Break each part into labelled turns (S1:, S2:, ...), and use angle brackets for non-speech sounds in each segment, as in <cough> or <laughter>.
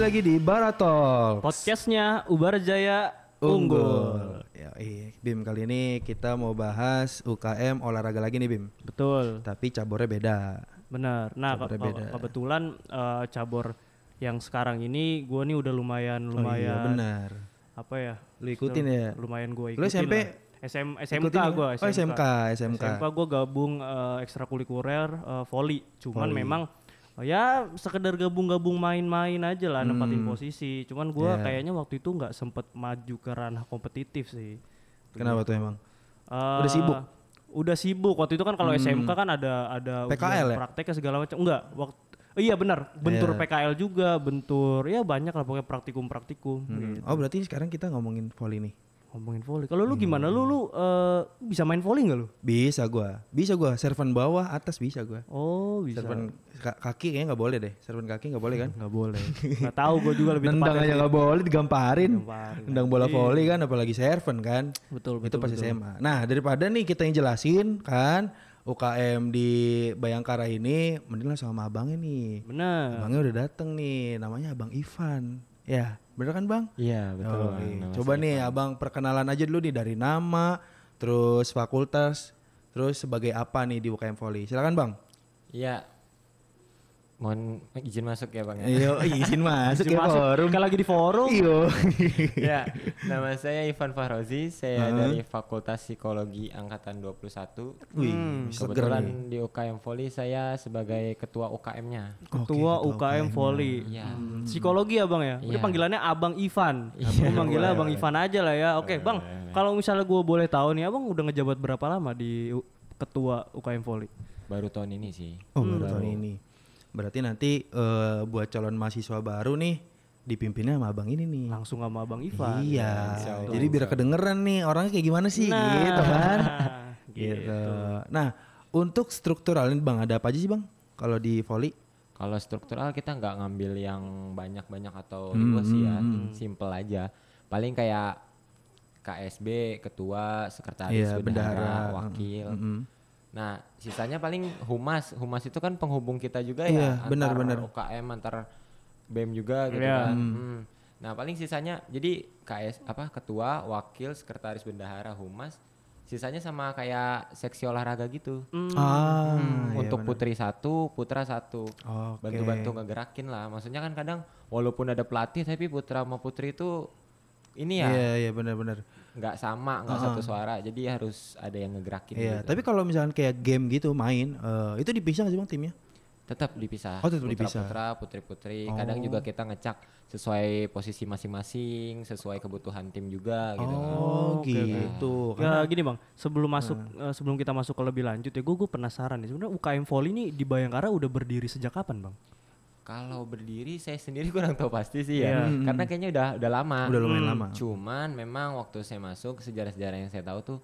S1: lagi di Baratol
S2: Podcastnya Ubar Jaya Unggul.
S1: Ya, iya. Bim kali ini kita mau bahas UKM olahraga lagi nih Bim.
S2: Betul,
S1: Tapi cabornya beda.
S2: benar. Nah,
S1: Cabornya
S2: ke- ke-
S1: beda.
S2: kebetulan eh, cabur yang sekarang ini gue nih udah lumayan
S1: Oh iya,
S2: lumayan
S1: benar.
S2: apa ya?
S1: Lu ikutin ya?
S2: Lumayan gue ikutin.
S1: Lu SMP?
S2: lah. SM, SMK
S1: Ikutin ya?
S2: gue.
S1: Oh SMK, SMK.
S2: SMK gue gabung eh, ekstrakurikuler eh, volley. Cuman memang eh, ya sekedar gabung-gabung main-main aja lah nempatin posisi. Cuman gue
S1: Hmm. Iya.
S2: kayaknya waktu itu nggak sempet maju ke ranah kompetitif sih.
S1: Kenapa tuh emang?
S2: Eh,
S1: Udah sibuk? Hmm.
S2: Udah sibuk. Waktu itu kan kalau SMK kan ada ada ujian
S1: PKL ya?
S2: prakteknya segala macam. Enggak, waktu iya benar, bentur PKL juga, bentur ya banyak lah pokoknya praktikum-praktikum gitu.
S1: Oh berarti sekarang kita ngomongin volley nih.
S2: Ngomongin volley. Kalau
S1: Hmm.
S2: lu gimana? Lu lu eh, bisa main volley enggak lu?
S1: Bisa gua. Bisa gua servan bawah, atas bisa gua.
S2: Oh, bisa.
S1: Servan ka- kaki kayaknya nggak boleh deh. Servan kaki nggak boleh kan?
S2: Nggak boleh.
S1: <laughs>
S2: Nggak tahu gue juga lebih
S1: Nendang
S2: tepatnya.
S1: aja nggak boleh digamparin.
S2: Gamparin.
S1: Nendang bola volley kan apalagi servan kan.
S2: Betul,
S1: itu
S2: betul.
S1: pas SMA. Nah, daripada nih kita yang jelasin kan UKM di Bayangkara ini mending langsung sama abangnya nih.
S2: Benar.
S1: Abangnya udah dateng nih, namanya Abang Ivan. Ya, bener kan Bang?
S3: Iya betul.
S1: Yoi. Coba nih Abang perkenalan aja dulu nih dari nama, terus fakultas, terus sebagai apa nih di UKM Volley. Silakan Bang.
S3: Iya. Mohon izin masuk ya bang. <laughs> ya?
S1: Ayo izin masuk
S2: Iya.
S1: ya
S2: Masuk,
S1: forum.
S2: Kalau lagi di forum.
S1: Iyo.
S3: Iya. Nama saya Ivan Fahrozi. Saya dari Fakultas Psikologi angkatan 21.
S1: Wih, seger
S3: Kebetulan
S1: nih.
S3: di UKM Volley saya sebagai ketua UKM-nya.
S2: Ketua UKM Volley.
S3: Iya.
S2: Hmm. Psikologi ya bang ya. Ini
S3: Iya.
S2: panggilannya Abang Ivan. Gue manggilnya Abang Ivan aja lah ya. Oke bang, kalau misalnya gue boleh tahu nih, abang udah ngejabat berapa lama di U- ketua UKM Volley?
S3: Baru tahun ini sih.
S1: Oh, baru tahun ini. Berarti nanti eh, buat calon mahasiswa baru nih dipimpinnya sama abang ini nih.
S2: Langsung sama Abang Ivan.
S1: Iya. Jadi biar kedengeran nih orangnya kayak gimana sih gitu
S2: <laughs>
S1: kan. Gitu. Nah, untuk strukturalin Bang ada apa aja sih Bang? Kalau di volley?
S3: Kalau struktural kita nggak ngambil yang banyak-banyak atau
S1: Hmm,
S3: luas sih ya, simple aja. Paling kayak KSB, ketua, sekretaris,
S1: Iya,
S3: bendahara,
S1: bendahara. Hmm,
S3: wakil.
S1: Mm-mm.
S3: Nah, sisanya paling humas. Humas itu kan penghubung kita juga
S1: Iya,
S3: ya,
S1: benar,
S3: antar
S1: benar.
S3: UKM antar BEM juga gitu
S2: Iya.
S3: kan. Hmm. Nah, paling sisanya jadi KS apa ketua, wakil, sekretaris bendahara, humas, sisanya sama kayak seksi olahraga gitu.
S1: Ah,
S3: Hmm,
S1: iya,
S3: untuk
S1: benar.
S3: putri satu, putra satu.
S1: Oke.
S3: Bantu-bantu ngegerakin lah. Maksudnya kan kadang walaupun ada pelatih tapi putra sama putri itu ini ya
S1: Iya, iya benar-benar.
S3: nggak sama, nggak satu suara. Jadi harus ada yang ngegerakin
S1: Iya,
S3: gitu.
S1: tapi kalau misalkan kayak game gitu main, eh, itu dipisah nggak sih Bang timnya?
S3: Tetap dipisah.
S1: Oh, tetap
S3: Putra
S1: dipisah. Oh.
S3: Putra, putri-putri. Kadang juga kita ngecak sesuai posisi masing-masing, sesuai kebutuhan tim juga gitu. kan.
S1: Oh,
S2: oke, oke.
S1: gitu.
S2: Ya gini bang, sebelum masuk eh, sebelum kita masuk ke lebih lanjut ya, gue penasaran nih. Sebenarnya UKM Volley ini di Bayangkara udah berdiri sejak kapan bang?
S3: Kalau berdiri saya sendiri kurang tahu pasti sih ya. Karena kayaknya udah udah lama.
S1: Iya. Hmm. Udah lumayan lama.
S3: Cuman memang waktu saya masuk sejarah-sejarah yang saya tahu tuh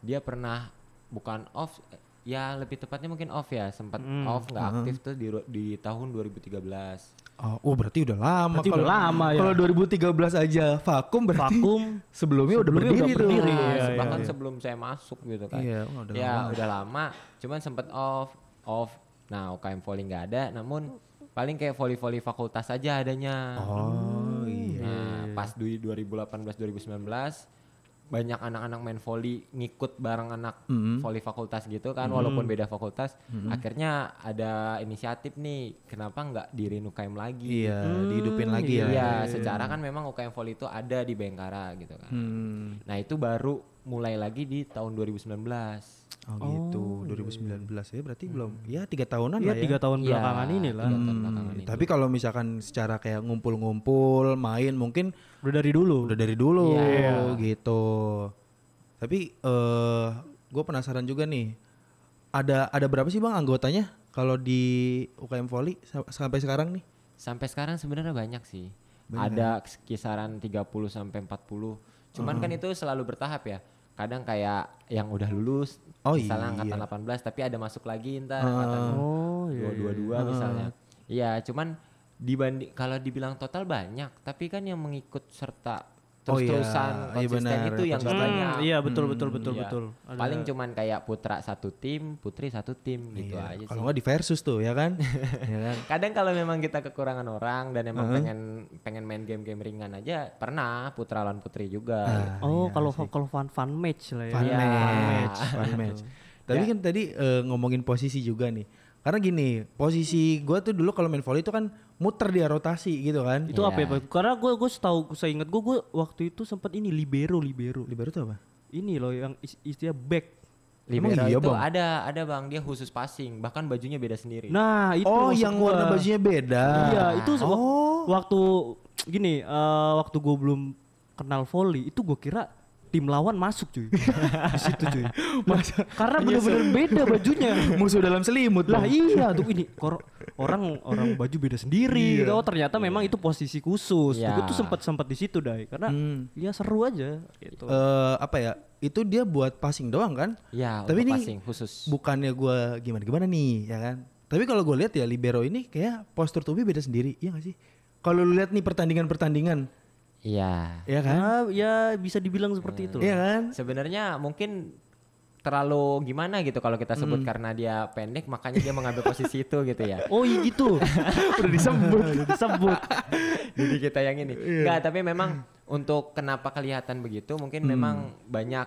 S3: dia pernah bukan off eh, ya lebih tepatnya mungkin off ya, sempat
S1: Hmm.
S3: off nggak aktif tuh di ru- di tahun 2013.
S1: Oh, oh, berarti udah lama.
S2: Berarti udah lama ya.
S1: Kalau 2013 aja vakum berarti
S2: Vakum.
S1: sebelumnya, udah
S2: Sebelumnya
S1: berdiri,
S2: udah
S1: tuh.
S2: berdiri,
S3: Nah,
S2: iya,
S3: se- bahkan sebelum saya masuk gitu kan.
S1: Iya, oh, udah
S3: ya udah lama, cuman sempat off, off. Nah, UKM volley nggak ada, namun paling kayak volley-volley fakultas aja adanya.
S1: Oh iya.
S3: Nah, pas di 2018-2019 banyak anak-anak main volley ngikut bareng anak volley fakultas gitu kan walaupun beda fakultas akhirnya ada inisiatif nih kenapa nggak diri UKM lagi
S1: Iya,
S2: Hmm,
S1: dihidupin lagi ya.
S3: Iya, secara kan memang UKM volley itu ada di Bengkara gitu kan
S1: Hmm,
S3: nah itu baru mulai lagi di tahun 2019
S1: oh, gitu. 2019 ya berarti belum. Ya tiga tahunan
S2: Iya
S1: lah ya. Hmm,
S2: tiga tahun
S3: Iya,
S2: belakangan ini lah.
S3: tiga tahun belakangan ini.
S1: Tapi kalau misalkan secara kayak ngumpul-ngumpul, main mungkin
S2: Udah dari dulu.
S1: udah dari dulu
S3: Iya.
S1: gitu. Tapi eh gue penasaran juga nih. Ada ada berapa sih Bang anggotanya kalau di UKM Volley sa- sampai sekarang nih?
S3: Sampai sekarang sebenarnya banyak sih. Ada kisaran 30 sampai 40. Cuman kan
S1: Uh-huh.
S3: itu selalu bertahap ya. Kadang kayak yang udah lulus
S1: Oh
S3: misalnya
S1: iya. Uh-huh.
S3: angkatan 18 tapi ada masuk lagi entar angkatan
S2: Oh iya.
S3: 222 misalnya. Iya, cuman dibanding kalau dibilang total banyak, tapi kan yang mengikut serta terus-terusan
S1: Oh iya, iya
S3: konsisten
S1: benar,
S3: itu yang gak
S2: Hmm,
S3: banyak.
S2: iya betul betul betul
S3: Iya.
S2: betul. Ada-
S3: Paling cuman kayak putra satu tim, putri satu tim gitu
S1: Iya,
S3: aja sih.
S1: Kalau nggak di versus tuh ya kan? ya kan?
S3: Kadang kalau memang kita kekurangan orang dan emang pengen pengen main game-game ringan aja, pernah putra lawan putri juga.
S1: Ah.
S2: Oh, kalau kalau fun fun match lah ya.
S1: Fun
S3: Iya.
S1: match, fun match. Tapi kan tadi eh, ngomongin posisi juga nih. Karena gini, posisi gua tuh dulu kalau main volley itu kan muter dia rotasi gitu kan.
S2: Itu apa ya? Pak? Karena gue gue setahu saya ingat gue gue waktu itu sempat ini libero libero.
S1: Libero tuh apa?
S2: Ini loh yang is- istilah back.
S1: Emang
S3: Libero
S1: iya,
S3: itu
S1: Bang?
S3: ada ada Bang dia khusus passing, bahkan bajunya beda sendiri.
S2: Nah itu
S1: oh,
S2: maksud
S1: yang
S2: gua.
S1: warna bajunya beda.
S2: Iya itu se- wak- <laughs>
S1: Oh.
S2: waktu gini eh, waktu gue belum kenal volley itu gue kira tim lawan masuk cuy <laughs> Iya, di situ cuy
S1: Masa
S2: karena bener-bener beda bajunya
S1: musuh dalam selimut
S2: lah
S1: Bang?
S2: iya tuh ini kor- orang orang baju beda sendiri
S1: Iya.
S2: gitu. oh ternyata memang itu posisi khusus
S3: Iya.
S2: gue tuh sempet sempet di situ dai karena
S1: Hmm.
S2: ya seru aja gitu
S1: Eh, apa ya? Itu dia buat passing doang kan?
S3: Ya,
S1: Tapi
S3: untuk
S1: ini
S3: passing khusus.
S1: bukannya gua gimana gimana nih ya kan tapi kalau gue lihat ya libero ini kayak postur tubuh beda sendiri iya gak sih kalau lu lihat nih pertandingan pertandingan
S3: Iya.
S1: ya kan
S2: Ya- ya bisa dibilang seperti itu loh.
S1: iya kan
S3: Sebenarnya mungkin terlalu gimana gitu kalau kita sebut
S1: Hmm.
S3: karena dia pendek makanya dia mengambil posisi itu gitu ya.
S2: oh iya
S1: <laughs>
S2: gitu udah disebut udah disebut
S3: <laughs> Jadi kita yang ini.
S1: Iya.
S3: Enggak, tapi memang untuk kenapa kelihatan begitu mungkin
S1: Hmm.
S3: memang banyak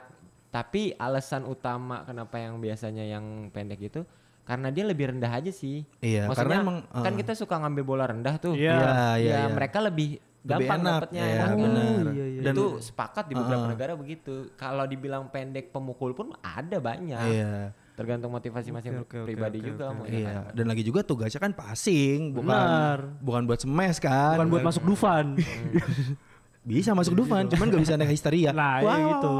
S3: tapi alasan utama kenapa yang biasanya yang pendek itu karena dia lebih rendah aja sih.
S1: Iya,
S3: Maksudnya,
S1: karena emang,
S3: kan
S1: eh.
S3: kita suka ngambil bola rendah tuh.
S2: Iya.
S1: Iya, iya,
S3: Ya,
S1: iya.
S3: mereka lebih
S1: Lebih
S3: gampang
S1: enak,
S3: dapatnya
S1: iya,
S3: enak kan.
S1: benar.
S2: Iya, iya,
S1: Dan- eh.
S3: itu sepakat di beberapa
S1: Heeh.
S3: negara begitu. Kalau dibilang pendek pemukul pun ada banyak.
S1: iya
S3: Tergantung motivasi masing
S2: oke, oke,
S3: pribadi
S2: oke,
S3: juga mau
S1: iya dan lagi juga tugasnya kan passing bukan
S2: Benar.
S1: bukan buat smash kan
S2: bukan buat masuk Dufan
S1: Iya. bisa masuk Dufan cuman gak bisa naik histeria
S2: Nah, iya gitu.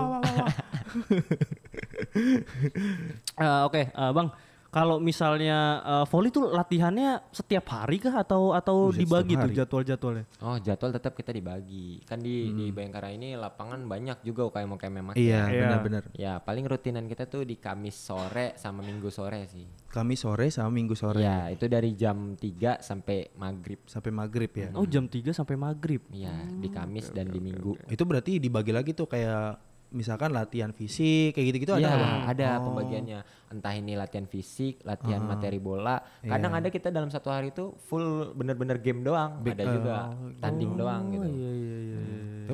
S2: Eh, Oke, eh, Bang. Kalau misalnya eh, volley tuh latihannya setiap hari kah atau atau
S1: Buset,
S2: dibagi
S1: setiap
S2: tuh
S1: hari.
S2: jadwal-jadwalnya?
S3: Oh jadwal tetap kita dibagi kan di di Bayangkara ini lapangan banyak juga UKM UKM memang
S1: Hmm. iya
S2: Iya.
S1: benar-benar
S3: ya paling rutinan kita tuh di Kamis sore sama Minggu sore sih
S1: kami sore sama minggu sore
S3: ya itu dari jam 3 sampai maghrib
S1: sampai maghrib ya
S2: Oh, jam 3 sampai maghrib.
S3: ya di Kamis dan di Minggu
S1: itu berarti dibagi lagi tuh kayak misalkan latihan fisik kayak gitu-gitu ada
S3: ya,
S1: nggak,
S3: ada,
S1: Bang?
S3: pembagiannya entah ini latihan fisik latihan
S1: Oh.
S3: materi bola
S1: Iya.
S3: kadang ada kita dalam satu hari itu full bener-bener game doang ada juga
S1: Oh,
S3: tanding doang gitu
S2: Iya, iya, iya.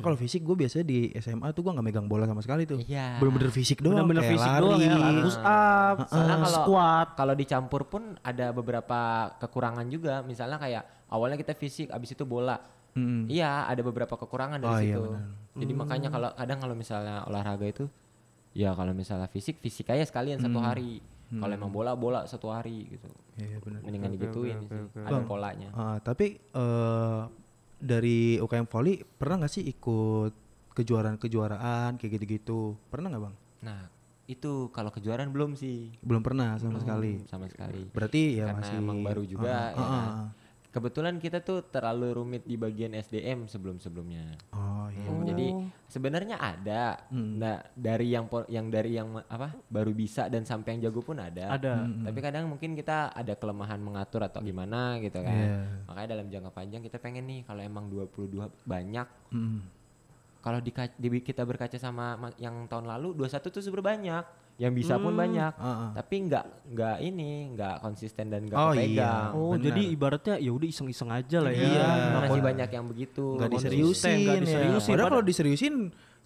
S1: Ya kalau fisik gue biasanya di SMA tuh gue nggak megang bola sama sekali tuh.
S3: Iya.
S1: Bener-bener fisik doang.
S2: Benar-benar
S1: kayak
S2: fisik
S1: lari.
S2: doang ya, lari push up,
S3: Soalnya kalau-
S2: squat.
S3: kalau dicampur pun ada beberapa kekurangan juga misalnya kayak awalnya kita fisik abis itu bola iya ada beberapa kekurangan dari
S1: Oh, iya
S3: situ jadi makanya kalau kadang kalau misalnya olahraga itu ya kalau misalnya fisik fisik aja sekalian satu
S1: Mm.
S3: hari kalau emang bola bola satu hari gitu
S1: Iya, bener.
S3: mendingan digituin sih ada polanya
S1: Ah, tapi eh, dari UKM Volley pernah nggak sih ikut kejuaraan-kejuaraan kayak gitu-gitu? Pernah nggak bang?
S3: nah itu kalau kejuaraan belum sih
S1: Belum pernah sama sekali.
S3: sama sekali
S1: Berarti ya
S3: karena
S1: masih
S3: emang baru
S1: Ah,
S3: juga ya
S1: ah,
S3: kan.
S1: ah, ah.
S3: kebetulan kita tuh terlalu rumit di bagian SDM sebelum sebelumnya
S1: Oh iya.
S3: Hmm, Jadi sebenarnya ada.
S1: Hmm.
S3: Nah, dari yang po- yang dari yang ma- apa? baru bisa dan sampai yang jago pun ada.
S2: Ada.
S1: Hmm.
S3: Tapi kadang mungkin kita ada kelemahan mengatur atau gimana gitu kan.
S1: Iya.
S3: Makanya dalam jangka panjang kita pengen nih kalau emang 22 banyak
S1: Mm.
S3: kalau di, di- kita berkaca sama ma- yang tahun lalu 21 tuh sebenarnya banyak. Yang bisa pun banyak.
S1: ah, ah.
S3: Tapi nggak nggak ini, nggak konsisten dan nggak
S1: Oh, iya.
S3: kepegang.
S2: Oh,
S1: Benar.
S2: jadi ibaratnya ya udah iseng-iseng aja lah ya.
S1: Iya.
S3: Masih banyak yang begitu.
S1: Nggak
S3: konsisten,
S1: diseriusin,
S2: nggak
S1: ya.
S2: diseriusin.
S1: Padahal kalau
S2: Padahal-
S1: diseriusin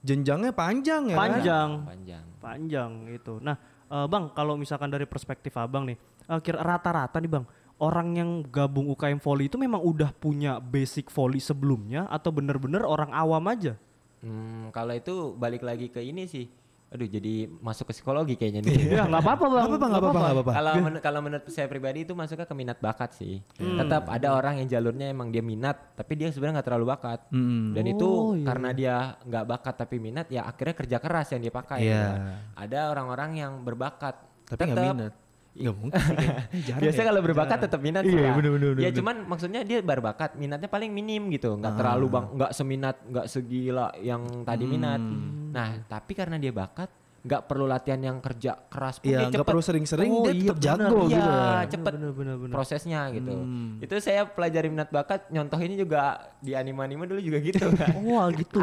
S1: jenjangnya panjang ya. kan?
S2: Panjang.
S3: Panjang.
S2: panjang gitu. Nah, eh, Bang, kalau misalkan dari perspektif Abang nih, eh, kira rata-rata nih, Bang, orang yang gabung UKM volley itu memang udah punya basic volley sebelumnya atau bener-bener orang awam aja?
S3: Hmm, kalau itu balik lagi ke ini sih. Aduh, jadi masuk ke psikologi kayaknya nih.
S2: Ya, nggak apa-apa,
S1: Iya,
S2: Bang.
S1: Nggak apa-apa, nggak apa-apa, nggak apa-apa.
S3: <laughs> Kalau men- kalau menurut saya pribadi itu masuknya ke minat bakat sih.
S1: Hmm.
S3: Tetap ada orang yang jalurnya emang dia minat, tapi dia sebenarnya nggak terlalu bakat.
S1: Mm.
S3: Dan itu
S2: Oh, iya.
S3: karena dia nggak bakat tapi minat, ya akhirnya kerja keras yang dia pakai.
S1: Iya.
S3: gitu. Ada orang-orang yang berbakat,
S1: Tapi nggak
S3: tetap-
S1: minat. Nggak mungkin. sih,
S2: <laughs>
S1: kayaknya. Jarang
S3: Biasanya
S1: ya.
S3: kalau berbakat tetap minat
S1: Iya,
S3: sih ya.
S1: bener, bener, bener,
S3: ya
S1: bener. Ah.
S3: cuman maksudnya dia berbakat, minatnya paling minim gitu, nggak terlalu
S1: Hmm.
S3: bang, nggak seminat, nggak segila yang tadi minat. Nah tapi karena dia bakat, nggak perlu latihan yang kerja keras pun
S1: Iya,
S3: dia
S1: nggak
S3: cepet.
S1: perlu sering-sering,
S2: Oh,
S1: dia tetap
S3: bener.
S1: jago
S3: iya,
S1: gitu ya.
S3: cepet
S2: Bener, bener, bener.
S3: prosesnya gitu
S1: Hmm.
S3: itu saya pelajari minat bakat nyontohinnya juga di anime-anime dulu juga gitu
S1: <laughs>
S3: kan
S2: Wah gitu.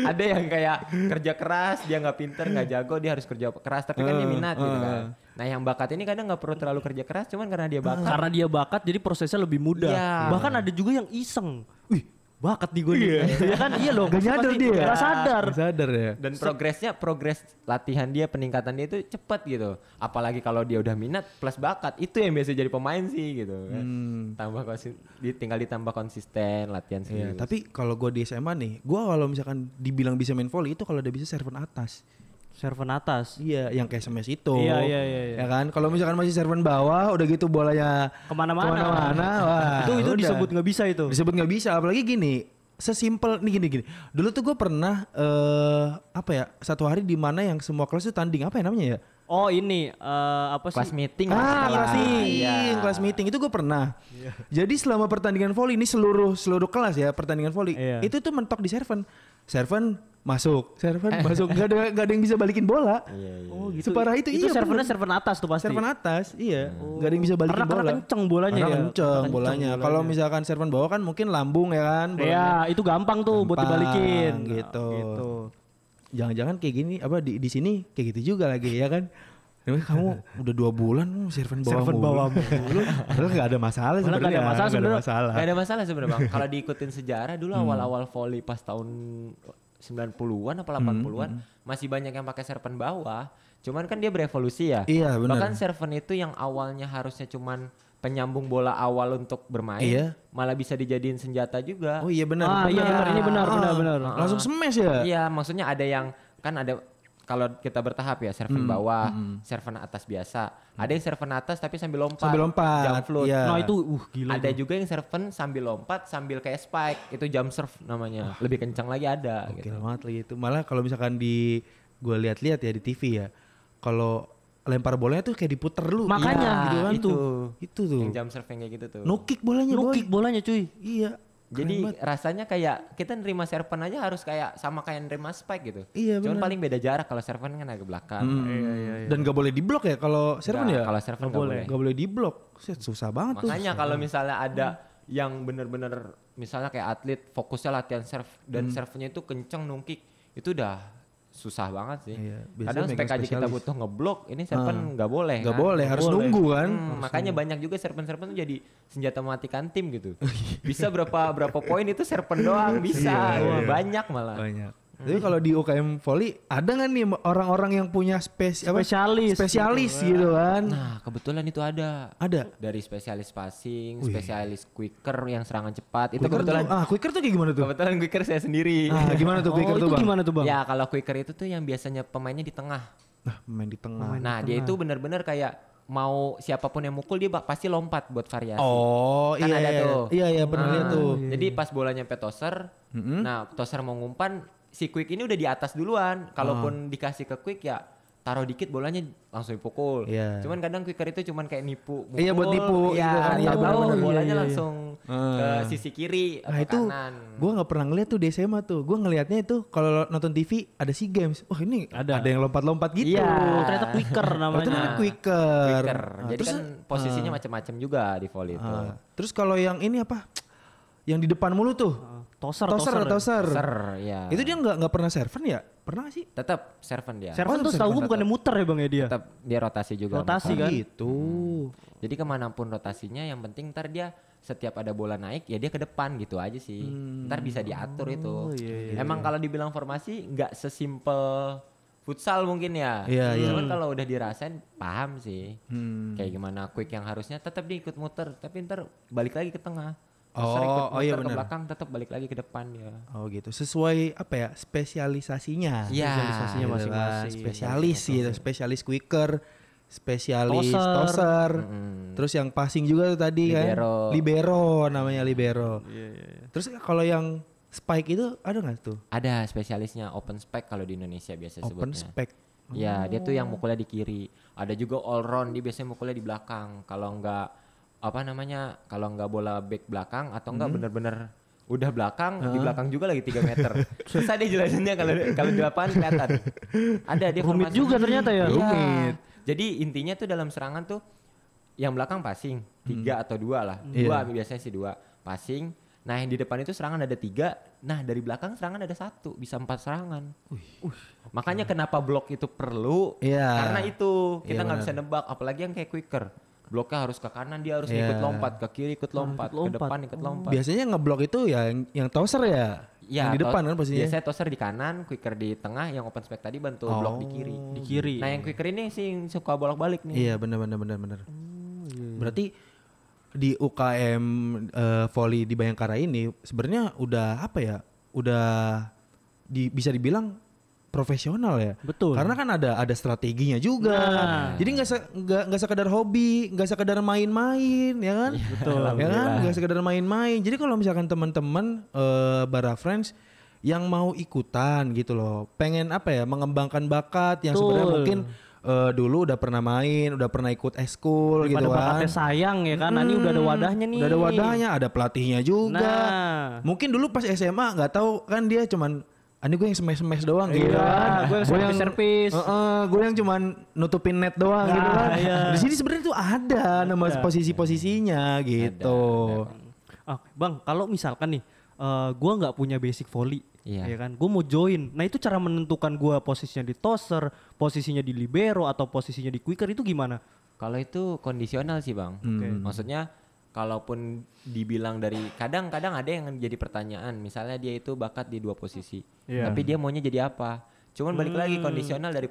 S3: ada yang kayak kerja keras dia nggak pinter nggak jago dia harus kerja keras tapi kan dia
S1: Eh,
S3: minat gitu kan
S1: eh.
S3: nah yang bakat ini kadang nggak perlu terlalu kerja keras cuman karena dia bakat
S2: Karena dia bakat jadi prosesnya lebih mudah.
S3: Iya.
S2: Bahkan ada juga yang iseng. Wih, bakat di gue nih. Ya kan iya loh.
S1: Gak
S2: pasti-
S1: nyadar
S2: pasti
S1: dia.
S2: Gak sadar.
S1: Nggak sadar ya.
S3: dan progresnya progres latihan dia peningkatan dia itu cepet gitu apalagi kalau dia udah minat plus bakat itu yang biasa jadi pemain sih gitu kan. tambah konsi- di- tinggal ditambah konsisten latihan
S1: Hmm. Iya,
S3: serius
S1: tapi kalau gue di SMA nih, gue kalau misalkan dibilang bisa main volley itu kalau udah bisa serven atas.
S2: Serven atas.
S1: Iya, yang kayak SMS itu.
S2: Iya, iya, iya, iya.
S1: Ya kan? Kalau misalkan masih serven bawah, udah gitu bolanya
S2: Kemana-mana.
S1: Kemana-mana, wah.
S2: itu itu
S1: udah.
S2: disebut nggak bisa itu.
S1: Disebut nggak bisa, apalagi gini. Sesimpel nih gini gini. Dulu tuh gue pernah eh apa ya? Satu hari di mana yang semua kelas itu tanding apa ya namanya ya?
S2: Oh ini eh, apa sih?
S3: kelas
S1: Ah,
S3: meeting lah
S1: kelas
S3: setelah.
S1: meeting,
S3: Iya.
S1: kelas meeting itu gue pernah. Jadi selama pertandingan volley ini seluruh seluruh kelas ya pertandingan volley
S2: Iya.
S1: itu tuh mentok di serven, serven masuk, serven masuk, gak ada gak ada yang bisa balikin bola.
S2: Oh gitu.
S1: Separah itu,
S2: itu
S1: iya.
S2: servernya
S1: bener.
S2: server atas tuh pasti.
S1: serven atas, iya, gak ada yang bisa balikin
S2: Karena-
S1: bola.
S2: karena kenceng bolanya
S1: Karena
S2: ya.
S1: kenceng
S2: Karena kenceng
S1: bolanya.
S2: bolanya.
S1: Kalau misalkan serven bawah kan mungkin lambung ya kan. bolanya.
S2: Ya, itu gampang tuh buat
S1: Gampang,
S2: dibalikin.
S1: gitu.
S2: Nah, gitu.
S1: Jangan-jangan kayak gini apa di di sini kayak gitu juga lagi ya kan. Namanya Kamu udah dua bulan hmm, serven bawah
S2: Serven
S1: mulu.
S2: bawah
S1: mulu. <laughs> Padahal nggak ada masalah
S2: Padahal nggak ada
S1: sebenarnya.
S2: masalah
S1: nggak
S2: sebenarnya.
S1: masalah.
S3: Gak ada masalah sebenarnya
S1: <laughs>
S3: bang. Kalau diikutin sejarah dulu
S1: Hmm.
S3: awal-awal volley pas tahun 90-an
S1: Hmm,
S3: apa 80-an masih banyak yang pakai serpen bawah. Cuman kan dia berevolusi ya.
S1: Iya, benar.
S3: Bahkan serpen itu yang awalnya harusnya cuman penyambung bola awal untuk bermain
S1: Iya.
S3: malah bisa dijadiin senjata juga.
S1: Oh iya benar.
S2: Ah, iya benar, ini benar, benar, benar.
S1: Langsung smash ya.
S3: Iya, maksudnya ada yang kan ada kalau kita bertahap ya,
S1: Hmm,
S3: serven bawah, serven atas biasa. Ada yang serven atas tapi sambil lompat.
S1: Sambil lompat,
S3: Jump float.
S1: iya.
S2: Nah, itu uh gila.
S3: ada
S2: itu.
S3: juga yang serven sambil lompat sambil kayak spike itu jump serve namanya lebih kencang lagi ada
S1: Oke
S3: gitu
S1: banget lagi itu. Malah kalau misalkan di gue lihat-lihat ya di TV ya. Kalau lempar bolanya tuh kayak diputer lu.
S2: Makanya,
S1: Iya, gitu kan.
S3: itu.
S1: Itu tuh.
S3: yang jump serve yang kayak gitu tuh
S1: No kick bolanya,
S2: No
S1: boy.
S2: kick bolanya cuy.
S1: Iya. keren
S3: jadi
S1: banget.
S3: rasanya kayak kita nerima serven aja harus kayak sama kayak nerima spike gitu
S1: Iya, Hmm.
S3: cuman
S1: benar.
S3: paling beda jarak kalau serven kan agak belakang
S1: dan gak boleh diblok ya kalau serven ya?
S3: Nggak, kalau serven
S1: Nggak
S3: iya. nggak
S1: boleh.
S3: boleh.
S1: Gak boleh diblok. Set, Susah banget tuh.
S3: makanya kalau misalnya ada
S1: Hmm.
S3: yang bener-bener misalnya kayak atlet fokusnya latihan serve dan
S1: Hmm.
S3: servenya itu kenceng nungkik itu udah susah banget sih
S1: Iya, biasanya
S3: kadang
S1: megang
S3: spek aja kita
S1: spesialis.
S3: butuh ngeblok ini serven nggak boleh
S1: Gak
S3: kan?
S1: boleh, harus nunggu kan.
S3: Hmm, makanya banyak juga serpen-serpen tuh jadi senjata mematikan tim
S1: <laughs>
S3: gitu. bisa berapa berapa poin itu serpen doang bisa.
S1: Oh, Iya,
S3: Wah,
S1: iya.
S3: Banyak malah.
S1: Banyak.
S3: Hmm.
S1: Tapi kalau di UKM volley ada nggak nih orang-orang yang punya spes apa?
S2: Spesialis.
S1: spesialis gitu kan?
S3: Nah, kebetulan itu ada.
S1: Ada.
S3: Dari spesialis passing, spesialis quicker yang serangan cepat. Itu
S1: Quicker
S3: kebetulan
S1: tuh, ah quicker tuh kayak gimana tuh?
S3: kebetulan quicker saya sendiri.
S1: Ah, gimana tuh
S2: Oh,
S1: quicker
S2: itu
S1: tuh bang?
S2: gimana tuh, Bang?
S3: Ya, kalau quicker itu tuh yang biasanya pemainnya di tengah.
S1: Nah main di tengah.
S3: Nah, dia itu benar-benar kayak mau siapapun yang mukul dia bak- pasti lompat buat variasi.
S1: Oh
S3: Kan
S1: iya
S3: ada
S1: iya.
S3: tuh.
S1: Iya iya pernah
S3: Ah,
S1: lihat tuh.
S3: Jadi pas bola nyampe toser, nah toser mau ngumpan, si quick ini udah di atas duluan.
S1: Ah.
S3: Kalaupun dikasih ke quick ya taruh dikit bolanya langsung dipukul.
S1: Iya.
S3: Cuman kadang quicker itu cuman kayak nipu.
S1: Iya, buat nipu
S3: Iya,
S1: gitu kan. Iya,
S3: tahu
S1: bener-bener.
S3: bolanya
S2: Iya, iya, iya.
S3: langsung ke
S1: Ah.
S3: sisi kiri
S1: Nah
S3: atau
S1: itu
S3: kanan.
S1: gue nggak pernah ngeliat tuh di SMA tuh. Gue ngelihatnya itu kalau nonton TV ada si games. Wah ini ada,
S2: Ada.
S1: ada yang lompat-lompat gitu.
S3: Iya.
S2: Oh, ternyata quicker
S1: Oh, itu
S2: namanya.
S1: namanya quicker.
S3: Quicker.
S1: Ah,
S3: Nah, Jadi
S1: terus
S3: kan posisinya macam-macam juga di volley itu.
S1: ah, terus kalau yang ini apa? Yang di depan mulu tuh.
S2: Toser,
S1: Toser, toser.
S3: Ser, ya.
S1: Itu dia nggak nggak pernah serven ya? Pernah nggak sih?
S3: tetap servant dia.
S2: Server
S1: Oh, server
S2: tuh setahu gue
S1: tetap.
S2: bukannya muter ya bang ya dia.
S3: tetap dia rotasi juga.
S2: Rotasi
S3: Muka.
S2: kan?
S1: Gitu.
S3: Hmm. Jadi kemanapun rotasinya yang penting ntar dia setiap ada bola naik ya dia ke depan gitu aja sih. Ntar bisa diatur itu.
S2: iya,
S3: Emang kalau dibilang formasi nggak sesimpel futsal mungkin ya.
S1: Iya, iya.
S3: Cuman kalau udah dirasain paham sih.
S1: Hmm.
S3: Kayak gimana quick yang harusnya tetap dia ikut muter tapi ntar balik lagi ke tengah.
S1: Oh,
S3: Terus ikut
S1: oh iya
S3: muter ke
S1: benar.
S3: belakang tetap balik lagi ke depan ya.
S1: Oh gitu. Sesuai apa ya? Spesialisasinya. Spesialisasinya
S3: Iya.
S2: Spesialisasinya
S1: masing-masing.
S2: masing-masing. Iya,
S1: Spesialis gitu, spesialis quicker, spesialis toser.
S2: Toser.
S1: Terus yang passing juga tuh tadi
S3: Hmm. Libero. Iya.
S1: kan. Libero namanya libero. Terus kalau yang spike itu ada nggak tuh?
S3: Ada spesialisnya open spec kalau di Indonesia biasa
S1: Open
S3: sebutnya.
S1: spec.
S3: Ya, dia tuh yang
S2: Oh.
S3: mukulnya di kiri. Ada juga all round, dia biasanya mukulnya di
S2: Hmm.
S3: belakang. Kalau enggak apa namanya? Kalau enggak bola back belakang atau enggak bener-bener udah belakang di belakang juga lagi 3 meter <laughs> susah deh jelasinnya kalau kalau di lapangan kelihatan ada dia
S2: Rumit
S3: formasi.
S2: juga ternyata ya.
S3: Iya.
S1: Rumit.
S3: jadi intinya tuh dalam serangan tuh yang belakang passing tiga
S2: Hmm.
S3: atau dua lah
S1: Iya.
S3: dua biasanya sih dua passing nah yang di depan itu serangan ada tiga nah dari belakang serangan ada satu bisa empat serangan makanya kenapa blok itu perlu
S1: Hmm. Iya.
S3: karena itu
S1: Iya,
S3: kita nggak
S1: benar.
S3: bisa nebak apalagi yang kayak quicker bloknya harus ke kanan dia harus
S1: Iya.
S3: ikut lompat ke kiri ikut
S2: ikut
S3: lompat, ke
S2: lompat.
S3: depan
S1: Oh.
S3: ikut lompat
S1: Biasanya ngeblok itu ya yang, yang toser ya.
S3: Ya,
S1: yang di
S3: to-
S1: depan kan posisinya.
S3: Biasanya toser di kanan, quicker di tengah, yang open spec tadi bantu blok di kiri.
S1: Oh.
S2: Di kiri.
S3: Nah, yang quicker ini sih yang suka bolak-balik nih.
S1: Iya benar benar benar benar.
S3: Oh, iya,
S1: Berarti di UKM eh, volley di Bayangkara ini sebenarnya udah apa ya? Udah di, bisa dibilang profesional ya.
S2: Betul. Nah.
S1: Karena kan ada ada strateginya juga. Jadi nggak se- nggak nggak sekedar hobi, nggak sekedar main-main, ya kan?
S2: Iya,
S1: Betul. Ya kan? Nggak sekedar main-main. Jadi kalau misalkan teman-teman eh, Bara Friends yang mau ikutan gitu loh, pengen apa ya? Mengembangkan bakat yang sebenarnya
S2: Betul.
S1: mungkin eh, dulu udah pernah main, udah pernah ikut eskul gitu
S2: Daripada
S1: kan. Hmm,
S2: bakatnya sayang ya kan. Nah, ini udah ada wadahnya nih.
S1: Udah ada wadahnya, ada pelatihnya juga.
S2: Nah.
S1: Mungkin dulu pas SMA nggak tahu kan dia cuman ini gue yang semes-semes doang gitu.
S2: Iya,
S1: kan.
S2: gue yang servis-servis.
S1: Heeh, gue yang cuman nutupin net doang gitu
S2: Nah,
S1: kan.
S2: iya.
S1: Di sini sebenarnya tuh ada nama posisi-posisinya gitu.
S2: Ah, bang, kalau misalkan nih eh, gua nggak punya basic volley,
S3: Iya.
S2: ya kan? Gue mau join. Nah itu cara menentukan gua posisinya di toser, posisinya di libero atau posisinya di quicker itu gimana?
S3: Kalau itu kondisional sih, Bang. Maksudnya kalaupun dibilang dari kadang-kadang ada yang jadi pertanyaan, misalnya dia itu bakat di dua posisi.
S2: Iya.
S3: Tapi dia maunya jadi apa? Cuman balik lagi kondisional dari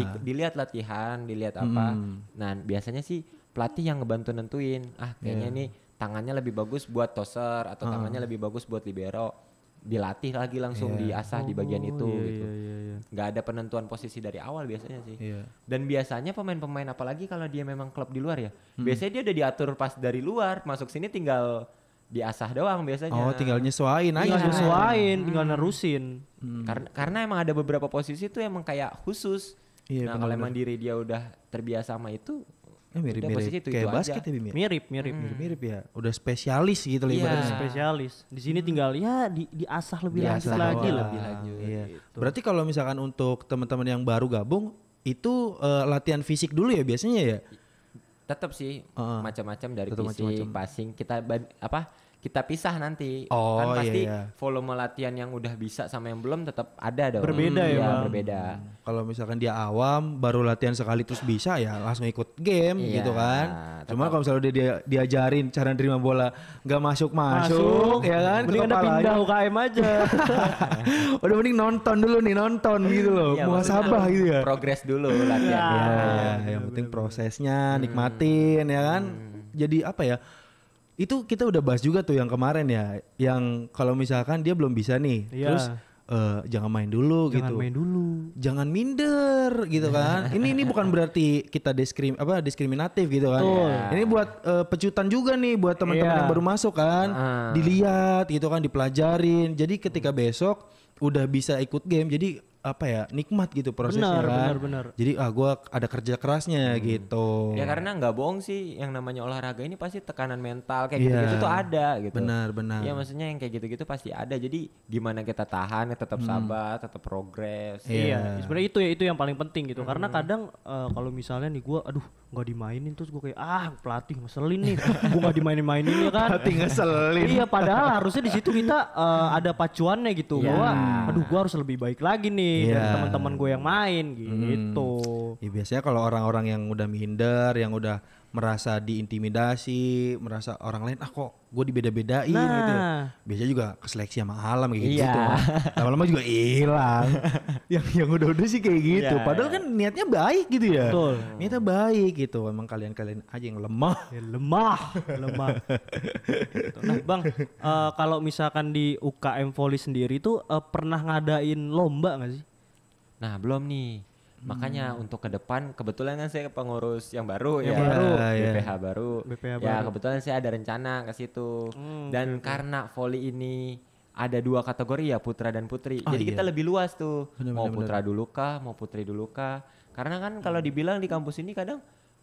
S1: Iya.
S3: di- dilihat latihan, dilihat apa. Nah, biasanya sih pelatih yang ngebantu nentuin. Ah, kayaknya nih tangannya lebih bagus buat toser atau tangannya lebih bagus buat libero. Dilatih lagi langsung diasah Ah, di
S2: Oh,
S3: bagian itu
S2: iya,
S3: gitu. nggak ada penentuan posisi dari awal biasanya sih.
S1: Iya.
S3: Dan biasanya pemain-pemain apalagi kalau dia memang klub di luar ya,
S1: Hmm.
S3: biasanya dia udah diatur pas dari luar, masuk sini tinggal diasah doang biasanya.
S1: Oh, tinggal nyesuaiin aja.
S2: Tinggal nyesuaiin, tinggal nerusin.
S1: hmm.
S3: Karena karena emang ada beberapa posisi tuh emang kayak khusus.
S1: Iya,
S3: nah, kalau emang diri dia udah terbiasa sama itu,
S1: Ya, mirip-mirip
S3: posisi itu-
S1: kayak
S3: itu aja.
S1: basket ya Bim ya?
S2: Mirip, mirip.
S1: Mirip-mirip ya. Udah spesialis gitu lah
S3: Iya.
S1: ibaratnya.
S2: Spesialis. Di sini tinggal ya di diasah lebih
S3: Diasah
S2: lanjut lagi
S3: doang.
S2: lah. gitu.
S3: lebih lanjut,
S1: Iya. Berarti kalau misalkan untuk teman-teman yang baru gabung itu eh, latihan fisik dulu ya biasanya ya.
S3: tetap sih
S1: Heeh.
S3: macam-macam dari
S1: Tetep
S3: fisik, passing kita ban- apa kita pisah nanti
S1: Oh,
S3: kan pasti
S1: iya, iya.
S3: volume latihan yang udah bisa sama yang belum tetap ada dong
S2: Berbeda ya,
S3: Iya,
S2: Bang.
S3: berbeda
S1: Kalau misalkan dia awam baru latihan sekali terus bisa ya langsung ikut game
S3: Iya,
S1: gitu kan. Cuma
S3: tetap.
S1: kalau misalnya dia, dia- diajarin cara nerima bola nggak masuk masuk ya kan. ke Gitu.
S2: Mending anda
S1: kepalanya.
S2: pindah UKM aja.
S1: <laughs> Udah mending nonton dulu nih nonton gitu loh.
S3: Iya,
S1: Muhasabah
S3: maksudnya Ah.
S1: gitu ya.
S3: progres dulu latihan
S1: Ya, yang penting prosesnya nikmatin ya kan.
S3: Hmm.
S1: Jadi apa ya? Itu kita udah bahas juga tuh yang kemarin ya, yang kalau misalkan dia belum bisa nih,
S2: Iya.
S1: terus eh, jangan main dulu
S2: Jangan
S1: gitu.
S2: main dulu.
S1: Jangan minder gitu kan.
S2: <laughs>
S1: ini ini bukan berarti kita diskrim apa diskriminatif gitu kan. Ini buat eh, pecutan juga nih buat teman-teman
S2: Iya.
S1: yang baru masuk kan.
S3: Ah.
S1: Dilihat gitu kan, dipelajarin. Jadi ketika besok udah bisa ikut game jadi apa ya nikmat gitu prosesnya
S2: Benar,
S1: kan.
S2: benar, benar. Hmm. Iya kan?
S1: Jadi ah gua ada kerja kerasnya gitu.
S3: Ya karena nggak bohong sih yang namanya olahraga ini pasti tekanan mental kayak
S1: Iya.
S3: gitu-gitu tuh ada gitu.
S1: Benar, benar.
S3: Iya maksudnya yang kayak gitu-gitu pasti ada. Jadi gimana kita tahan, tetap
S1: Hmm.
S3: sabar, tetap progres.
S2: Iya, sebenarnya itu ya itu yang paling penting gitu.
S1: Hmm.
S2: Karena kadang eh, kalau misalnya nih gua aduh nggak dimainin terus gua kayak ah pelatih ngeselin nih, gua nggak dimainin-mainin ya kan.
S1: Hati ngeselin.
S2: Iya, padahal harusnya di situ kita eh, ada pacuannya gitu
S3: Iya.
S2: bahwa aduh gua harus lebih baik lagi nih dari
S1: Iya. Hmm.
S2: teman-teman gue yang main gitu.
S1: Ya biasanya kalau orang-orang yang udah minder, yang udah merasa diintimidasi, merasa orang lain ah kok gue dibeda-bedain
S2: Nah.
S1: gitu. ya. Biasanya juga keseleksi sama alam kayak
S3: Iya.
S1: gitu. Lama-lama juga hilang. yang yang udah-udah sih kayak gitu.
S3: Iya.
S1: Padahal kan niatnya baik gitu ya.
S2: Betul.
S1: Niatnya baik gitu. Emang kalian-kalian aja yang lemah.
S2: Ya, lemah, lemah. Gitu. Nah, Bang, eh, kalau misalkan di UKM Volley sendiri tuh eh, pernah ngadain lomba nggak sih?
S3: Nah belum nih.
S1: Hmm.
S3: Makanya untuk ke depan kebetulan kan saya pengurus yang baru
S1: Yang
S3: ya.
S1: baru. Iya,
S3: BPH baru.
S2: BPH
S3: ya
S2: baru.
S3: kebetulan saya ada rencana ke situ.
S1: Hmm,
S3: Dan karena volley ini ada dua kategori ya putra dan putri.
S1: Oh,
S3: Jadi kita lebih luas tuh.
S1: Benar, benar,
S3: mau
S1: Hmm.
S3: putra dulu kah, mau putri dulu kah? Karena kan kalau dibilang di kampus ini kadang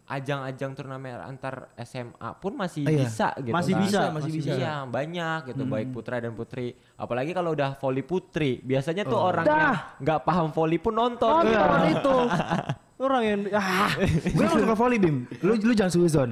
S3: ajang-ajang turnamen antar SMA pun masih
S1: Iya.
S3: bisa gitu
S2: Masih
S3: kan.
S2: bisa,
S1: masih bisa.
S3: Iya, banyak gitu baik putra dan putri. Apalagi kalau udah voli putri, biasanya tuh orang yang nggak paham voli pun nonton. gitu.
S2: Orang itu. Orang yang ah,
S1: gue emang suka volley Bim lu lu jangan suuzon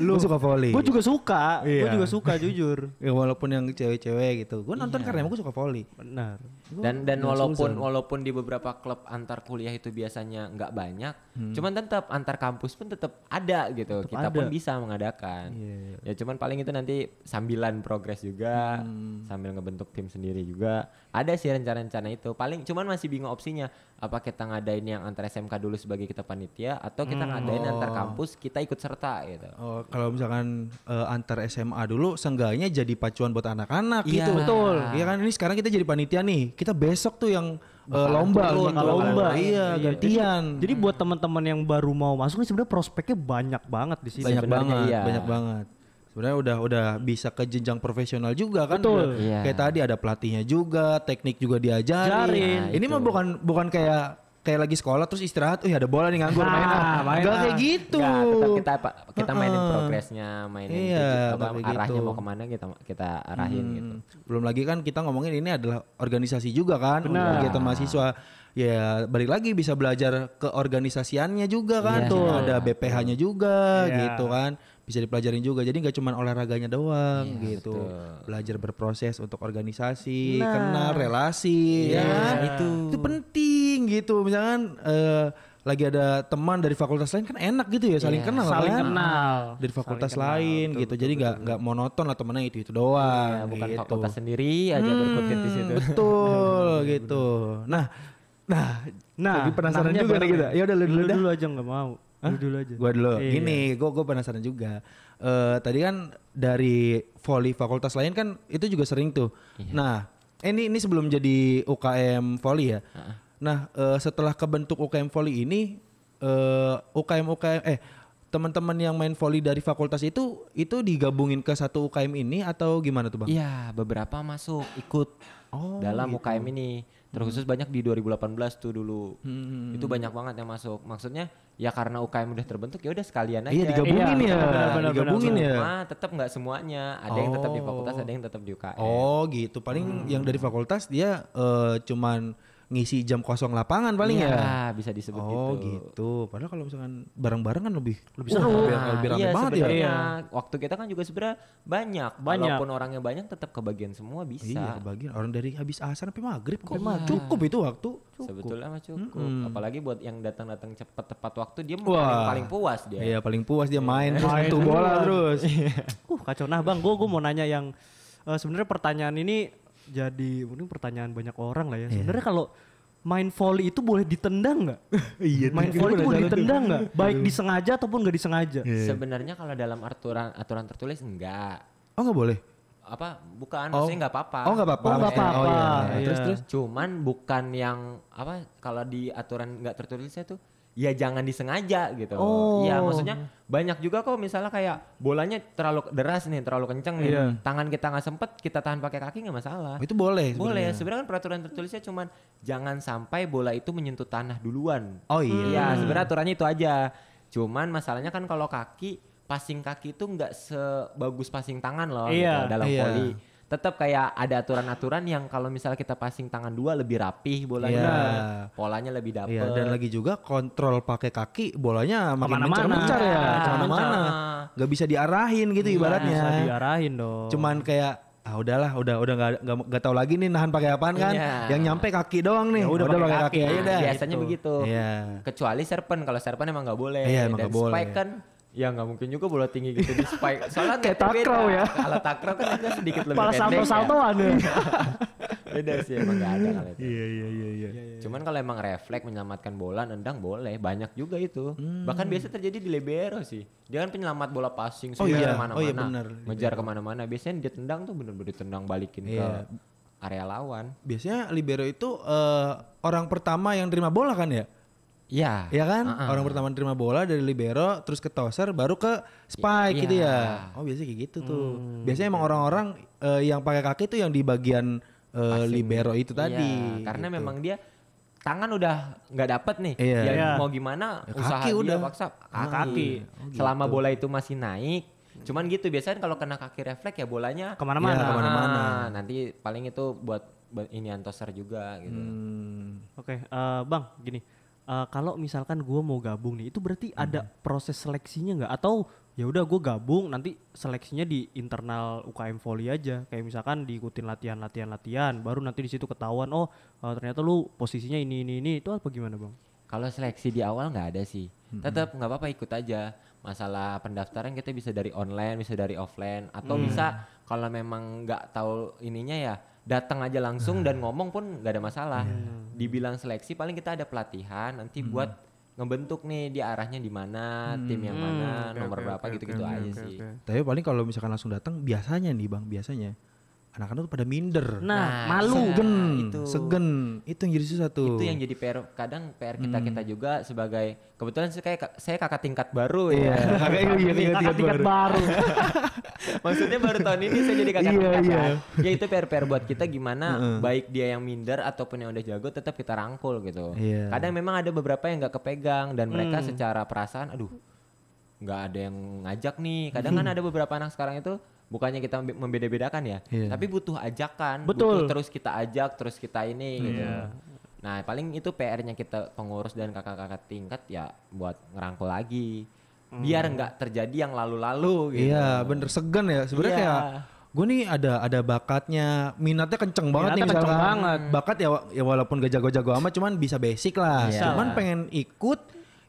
S1: lu suka volley
S2: gue juga suka. Gue
S1: Iya.
S2: juga suka jujur.
S1: Ya, walaupun yang cewek-cewek gitu gue nonton karena emang gue suka volley
S2: Benar.
S1: Gua
S3: Dan dan
S1: jangan
S3: walaupun
S1: suuzon.
S3: walaupun di beberapa klub antar kuliah itu biasanya nggak banyak,
S1: Hmm.
S3: cuman tetap antar kampus pun tetap ada gitu. Kita pun
S2: ada.
S3: bisa mengadakan.
S1: Iya,
S3: Ya cuman paling itu nanti sambilan progres juga,
S1: Hmm.
S3: sambil ngebentuk tim sendiri juga. Ada sih rencana-rencana itu. Paling cuman masih bingung opsinya. Apa kita ngadain yang antar SMK dulu sebagai kita panitia atau
S1: Hmm.
S3: kita ngadain antar kampus kita ikut serta gitu.
S1: Oh, kalau misalkan eh, antar SMA dulu seenggaknya jadi pacuan buat anak-anak
S3: Iya.
S1: gitu.
S3: Betul.
S1: Iya kan ini sekarang kita jadi panitia nih. Kita besok tuh yang eh, lomba
S3: turun,
S1: bakal
S2: bakalan
S1: lomba.
S3: main.
S1: Iya,
S3: Iya.
S1: gantian.
S2: Jadi buat teman-teman yang baru mau masuk nih sebenarnya prospeknya banyak banget di sini. Nah,
S1: banyak
S3: sebenarnya
S1: banget,
S3: iya.
S1: banyak banget. Sebenarnya udah udah bisa ke jenjang profesional juga kan.
S2: Betul.
S1: Udah
S3: Iya.
S1: Kayak tadi ada pelatihnya juga, teknik juga diajarin.
S2: Ajarin.
S1: Nah, ini mah bukan bukan kayak kayak lagi sekolah terus istirahat, "Wih, ada bola nih nganggur
S2: Ah,
S1: main ah."
S2: main
S1: Nggak
S2: ah.
S1: kayak gitu.
S3: Nggak, tetap kita pa- kita mainin
S1: Heeh.
S3: progresnya, mainin
S1: Iya,
S3: tuju- apa,
S1: pakai
S3: arahnya
S1: gitu. Hmm.
S3: mau kemana kita kita arahin gitu.
S1: Belum lagi kan kita ngomongin ini adalah organisasi juga kan, untuk
S2: Benar.
S1: kegiatan mahasiswa. Ya balik lagi bisa belajar keorganisasiannya juga kan,
S3: Iya.
S1: Tuh, ada BPH-nya juga
S2: Iya.
S1: gitu kan, bisa dipelajarin juga. Jadi nggak cuma olahraganya doang
S2: Iya,
S1: gitu,
S3: betul.
S1: belajar berproses untuk organisasi, kenal relasi,
S2: Iya.
S1: ya kan? itu penting gitu. Misalkan eh, lagi ada teman dari fakultas lain kan enak gitu ya saling kenal
S2: Iya. Saling
S1: kan?
S2: kenal.
S1: dari fakultas lain gitu jadi nggak nggak monoton lah temennya itu itu doang
S3: Ya, bukan
S1: gitu. Hmm.
S3: fakultas sendiri aja berkutik di situ. <laughs>
S1: betul gitu nah nah
S2: Nah,
S1: lagi penasaran
S2: nahnya
S1: juga nih
S2: bareng
S1: kita ya udah lu dulu
S2: Lu
S1: dah
S2: dulu aja nggak mau. Lu dulu aja.
S1: gua dulu
S2: Iya.
S1: gini gua gua penasaran juga Eh tadi kan dari voli fakultas lain kan itu juga sering tuh
S3: Iya.
S1: nah eh, ini ini sebelum jadi UKM voli ya nah eh, setelah kebentuk UKM voli ini eh UKM UKM eh teman-teman yang main voli dari fakultas itu itu digabungin ke satu UKM ini atau gimana tuh bang? Oh, gitu.
S3: Iya, beberapa masuk ikut dalam UKM ini. Terkhusus
S1: Hmm.
S3: banyak di 2018 tuh dulu. Itu banyak banget yang masuk. Maksudnya ya karena UKM udah terbentuk ya udah sekalian aja.
S1: Iya digabungin
S2: Iya,
S1: ya,
S2: benar-benar,
S1: digabungin ya.
S3: Cuma tetap nggak semuanya. Ada yang tetap di fakultas, ada yang tetap di UKM.
S1: Oh gitu, paling yang dari fakultas dia eh, cuman ngisi jam kosong lapangan paling ya.
S3: Iya, bisa disebut
S1: Oh
S3: gitu.
S1: gitu. Padahal kalau misalkan bareng-bareng kan lebih lebih
S3: Wah,
S1: Lebih, lebih rame
S3: iya,
S1: banget ya.
S3: sebenarnya Waktu kita kan juga sebenarnya banyak.
S2: Banyak.
S3: Walaupun orangnya banyak tetap kebagian semua bisa.
S1: Iya, kebagian orang dari habis asar sampai maghrib kok. Cukup itu waktu.
S3: Sebetulnya mah cukup. Apalagi buat yang datang-datang cepat tepat waktu dia paling,
S1: Wah.
S3: paling puas dia.
S1: Iya, paling puas dia main terus nyentuh bola terus.
S2: <laughs> Uh kacau. Nah bang, gue mau nanya yang eh, sebenarnya pertanyaan ini jadi mungkin pertanyaan banyak orang lah ya. Sebenarnya kalau main volley itu boleh ditendang nggak?
S1: Iya,
S2: main
S1: tuh,
S2: volley
S1: gimana cara
S2: itu boleh
S1: tuh?
S2: ditendang nggak? Baik disengaja ataupun nggak disengaja.
S3: Sebenarnya kalau dalam aturan aturan tertulis enggak
S1: Oh enggak boleh.
S3: apa bukan
S1: Oh.
S3: maksudnya enggak apa-apa.
S1: Oh enggak apa-apa.
S2: Oh, nggak
S1: maksudnya.
S2: apa-apa.
S1: iya.
S2: Iya.
S1: Terus terus.
S3: Cuman bukan yang apa kalau di aturan enggak tertulisnya tuh ya jangan disengaja gitu.
S2: Oh.
S3: Iya, maksudnya banyak juga kok misalnya kayak bolanya terlalu deras nih, terlalu kenceng nih.
S1: Iya.
S3: Tangan kita nggak sempet, kita tahan pakai kaki nggak masalah.
S1: Oh, itu boleh.
S3: Boleh,
S1: sebenarnya.
S3: sebenarnya kan peraturan tertulisnya cuman jangan sampai bola itu menyentuh tanah duluan.
S1: Oh iya.
S3: Iya, sebenarnya aturannya itu aja. Cuman masalahnya kan kalau kaki, passing kaki itu nggak sebagus passing tangan loh gitu,
S2: Iya.
S3: dalam
S1: Iya.
S3: voli. Tetap kayak ada aturan-aturan yang kalau misalnya kita passing tangan dua lebih rapih bolanya.
S1: Iya.
S3: Polanya lebih dapet.
S1: Iya, dan lagi juga kontrol pakai kaki bolanya makin
S2: Kemana-mana.
S1: mencar-mencar ya,
S3: Ah,
S2: Iya,
S1: kemana-mana. Gak bisa diarahin gitu ibaratnya.
S2: Bisa diarahin dong.
S1: Cuman kayak ah udahlah udah udah nggak nggak nggak tahu lagi nih nahan pakai apaan kan
S3: Iya.
S1: yang nyampe kaki doang nih
S2: Ya udah, pakai kaki.
S1: aja
S3: Nah,
S1: dah
S3: biasanya
S1: gitu.
S3: begitu.
S1: Iya.
S3: Kecuali serpen, kalau serpen emang nggak boleh.
S1: Iya, emang
S3: Dan
S1: nggak boleh.
S3: spike kan ya nggak mungkin juga bola tinggi gitu di spike. <laughs> Soalnya
S2: Kayak
S3: beda.
S2: takraw ya.
S3: Kalau takraw kan itu sedikit lebih
S2: Malah
S3: pendek. ya.
S2: salto-saltoan ya.
S3: Beda sih emang nggak ada kalau itu.
S1: iya iya iya iya
S3: Cuman kalau emang refleks menyelamatkan bola nendang boleh, banyak juga itu.
S1: Hmm.
S3: Bahkan biasa terjadi di libero sih. Dia kan penyelamat bola passing
S1: Oh
S3: sendiri
S1: iya,
S3: kemana-mana,
S1: oh iya benar,
S3: ngejar kemana-mana. Biasanya dia tendang tuh bener-bener tendang balikin
S1: Iya.
S3: ke area lawan.
S1: biasanya libero itu eh, orang pertama yang terima bola kan ya
S3: Iya.
S1: Iya kan
S3: Ah-ah.
S1: orang pertama terima bola dari libero terus ke toser baru ke spike
S3: Iya.
S1: gitu ya oh biasanya kayak gitu tuh biasanya emang orang-orang eh, yang pakai kaki tuh yang di bagian eh, libero itu tadi
S3: Iya, karena
S1: gitu.
S3: memang dia tangan udah nggak dapet nih.
S1: Iya.
S3: Dia
S2: Iya.
S3: mau gimana
S1: Ya,
S3: usaha
S1: kaki
S3: dia
S1: udah.
S3: paksa kaki.
S2: Kaki.
S1: Oh, gitu.
S3: Selama bola itu masih naik. Cuman gitu biasanya kalau kena kaki refleks ya bolanya
S2: Kemana-mana.
S1: Iya, kemana-mana.
S3: Ah, Nanti paling itu buat buat ini antoser juga gitu.
S1: Hmm.
S2: Oke, eh, Bang, gini. Eh, kalau misalkan gua mau gabung nih, itu berarti ada
S1: Mhm.
S2: proses seleksinya nggak? Atau ya udah gue gabung, nanti seleksinya di internal UKM Volley aja. Kayak misalkan diikutin latihan, latihan, latihan, baru nanti di situ ketahuan, oh eh, ternyata lu posisinya ini, ini, ini. Itu apa gimana, Bang?
S3: Kalau seleksi di awal nggak ada sih. Tetap nggak apa-apa ikut aja. Masalah pendaftaran kita bisa dari online, bisa dari offline, atau bisa kalau memang nggak tahu ininya ya datang aja langsung dan ngomong pun nggak ada masalah. Dibilang seleksi paling kita ada pelatihan nanti buat ngebentuk nih di arahnya di mana, tim yang
S1: Hmm,
S3: mana,
S2: Mm.
S3: nomor berapa gitu-gitu aja sih.
S1: Tapi paling kalau misalkan langsung datang biasanya nih bang biasanya anak-anak tuh pada minder.
S2: Nah, malu.
S1: Segen,
S3: itu.
S1: segen. Itu yang jadi susah tuh.
S3: Itu <laughs> yang jadi PR kadang PR kita kita juga sebagai kebetulan saya kayak saya kakak tingkat baru ya.
S1: Kakak iya,
S2: Ini
S1: tingkat-
S2: kakak
S1: tingkat
S2: tingkat
S1: baru.
S2: baru.
S3: Maksudnya baru tahun ini saya jadi kakak
S1: Iya,
S3: tingkat
S1: iya.
S3: kan. Ya itu PR-PR buat kita gimana baik dia yang minder ataupun yang udah jago tetap kita rangkul gitu.
S1: Iya. Hmm.
S3: Kadang memang ada beberapa yang nggak kepegang dan mereka secara perasaan aduh nggak ada yang ngajak nih. Kadang
S1: Hmm.
S3: kan ada beberapa anak sekarang itu bukannya kita membe- membeda-bedakan ya,
S1: Iya.
S3: tapi butuh ajakan,
S2: Betul.
S3: butuh terus kita ajak, terus kita ini gitu.
S1: Iya.
S3: Nah, paling itu PR-nya kita pengurus dan kakak-kakak tingkat ya buat ngerangkul lagi. Biar nggak terjadi yang lalu-lalu
S1: Hmm.
S3: gitu.
S1: Iya bener segen ya sebenarnya
S3: Iya.
S1: kayak gue nih ada ada bakatnya minatnya kenceng banget
S2: Minatnya
S1: nih
S2: kenceng
S1: misalkan
S2: banget.
S1: bakat ya, wa- ya walaupun gak jago-jago amat cuman bisa basic lah
S3: Iya.
S1: cuman pengen ikut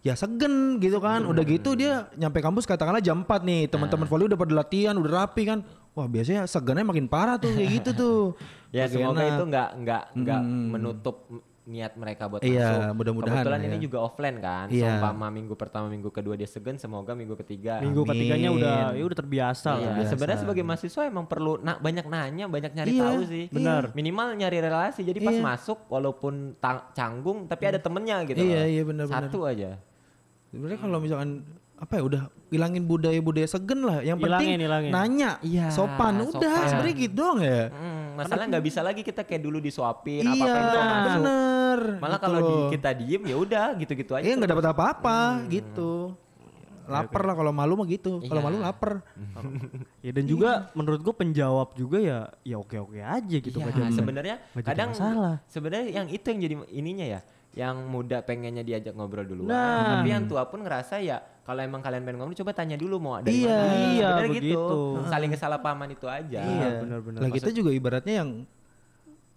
S1: ya segen gitu kan udah gitu dia nyampe kampus katakanlah jam 4 nih
S3: Nah.
S1: teman-teman volley udah pada latihan udah rapi kan wah biasanya segennya makin parah tuh kayak gitu tuh
S3: <laughs> Ya
S1: Makin
S3: semoga
S1: enak.
S3: itu nggak nggak nggak menutup m- niat mereka buat
S1: Iya,
S3: masuk.
S1: mudah-mudahan
S3: Kebetulan
S1: ya.
S3: ini juga offline kan.
S1: Iya.
S3: Seumpama minggu pertama, minggu kedua dia segen, semoga minggu ketiga.
S2: Minggu
S1: Amin.
S2: ketiganya udah ya udah terbiasa
S3: Iya,
S2: lah.
S3: sebenarnya sebagai mahasiswa emang perlu na- banyak nanya, banyak nyari
S1: Iya,
S3: tahu sih.
S1: benar.
S3: Minimal nyari relasi. Jadi pas
S1: Iya.
S3: masuk walaupun tang- canggung tapi ada temennya gitu.
S1: Iya,
S3: loh.
S1: iya, benar-benar.
S3: Satu aja.
S1: sebenarnya kalau misalkan apa ya udah hilangin budaya-budaya segen lah yang penting
S2: Hilangin, hilangin.
S1: nanya
S3: Iya,
S1: sopan udah
S3: sopan.
S1: sebenarnya gitu dong ya
S3: Mm, masalah nggak bisa lagi kita kayak dulu disuapin
S1: iya
S3: apa-apa yang mau masuk.
S1: bener
S3: Malah
S1: Gitu
S3: kalau di-
S1: loh.
S3: kita diem ya udah gitu-gitu aja.
S1: Iya nggak dapat apa-apa gitu. Lapar lah kalau malu mah gitu. Kalau
S3: Hmm. Iya.
S1: malu lapar.
S2: Ya dan juga
S1: Iya.
S2: menurut gue penjawab juga ya ya oke-oke aja gitu
S3: Iya,
S2: nggak jadi-
S3: sebenarnya
S2: nggak jadi
S3: kadang
S2: masalah.
S3: sebenarnya yang itu yang jadi ininya ya yang muda pengennya diajak ngobrol duluan
S2: Nah.
S3: tapi
S1: Hmm.
S3: yang tua pun ngerasa ya kalau emang kalian pengen ngobrol coba tanya dulu mau dari
S1: Iya, Hmm.
S3: mana
S2: iya,
S3: Sebenarnya gitu.
S2: begitu.
S3: saling kesalahpahaman itu aja
S2: kan.
S1: iya.
S2: benar-benar.
S1: Lah kita juga ibaratnya yang